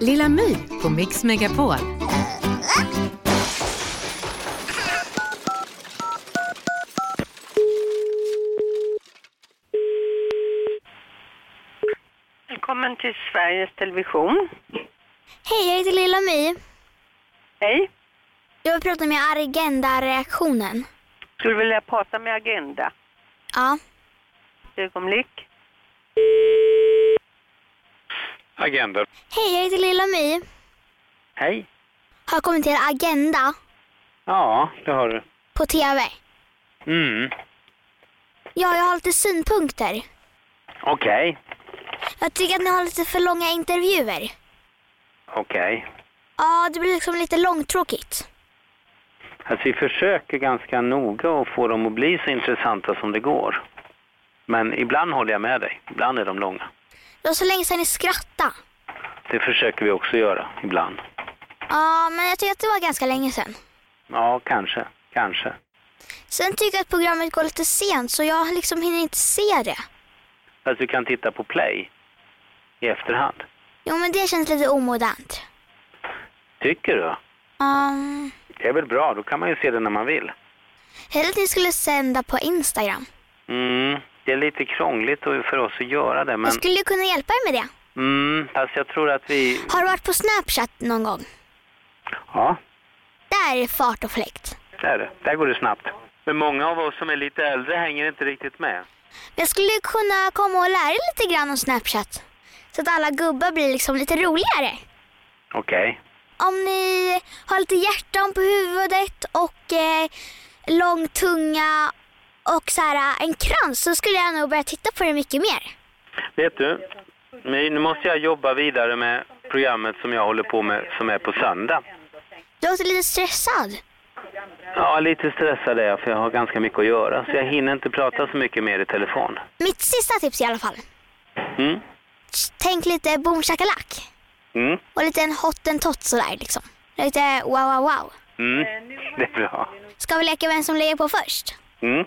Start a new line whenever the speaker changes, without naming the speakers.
Lilla My på Mix Megapol.
Välkommen till Sveriges Television.
Hej, jag heter Lilla My.
Hej.
Jag vill prata med Agenda-reaktionen.
Skulle vilja prata med Agenda.
Ja.
Ett ögonblick.
Agenda.
Hej, jag heter Lilla My.
Hej.
Har kommit till Agenda
Ja, det har du.
på TV.
Mm.
Ja, jag har lite synpunkter.
Okej.
Jag tycker att ni har lite för långa intervjuer.
Okej.
Ja, det blir liksom lite långtråkigt.
Alltså vi försöker ganska noga att få dem att bli så intressanta som det går. Men ibland håller jag med dig. Ibland är de långa.
Det var så länge sedan ni skrattade.
Det försöker vi också göra, ibland.
Ja, men jag tycker att det var ganska länge sedan.
Ja, kanske. Kanske.
Sen tycker jag att programmet går lite sent så jag liksom hinner inte se det.
Fast du kan titta på play i efterhand.
Jo, men det känns lite omodernt.
Tycker du?
Um,
Det är väl bra, då kan man ju se det när man vill.
hellre att ni skulle sända på Instagram.
Mm, det är lite krångligt för oss att göra det, men...
Jag skulle ju kunna hjälpa er med det.
Mm, fast jag tror att vi...
Har du varit på Snapchat någon gång?
Ja,
Där är det fart och fläkt.
där, är det. där går det snabbt. Men många av oss som är lite äldre hänger inte riktigt med.
Jag skulle ju kunna komma och lära er lite grann om Snapchat. Så att alla gubbar blir liksom lite roligare.
Okej.
Om ni har lite hjärtan på huvudet och eh, lång tunga och så här, eh, en krans så skulle jag nog börja titta på det mycket mer.
Vet du, My, nu måste jag jobba vidare med programmet som jag håller på med som är på söndag.
Du låter lite stressad.
Ja, lite stressad är jag för jag har ganska mycket att göra så jag hinner inte prata så mycket mer i telefon.
Mitt sista tips i alla fall.
Mm.
Tänk lite boom shakalak
Mm.
och lite en hottentott sådär liksom. Lite wow wow wow.
Mm. Det är bra.
Ska vi leka vem som lägger på först?
Mm.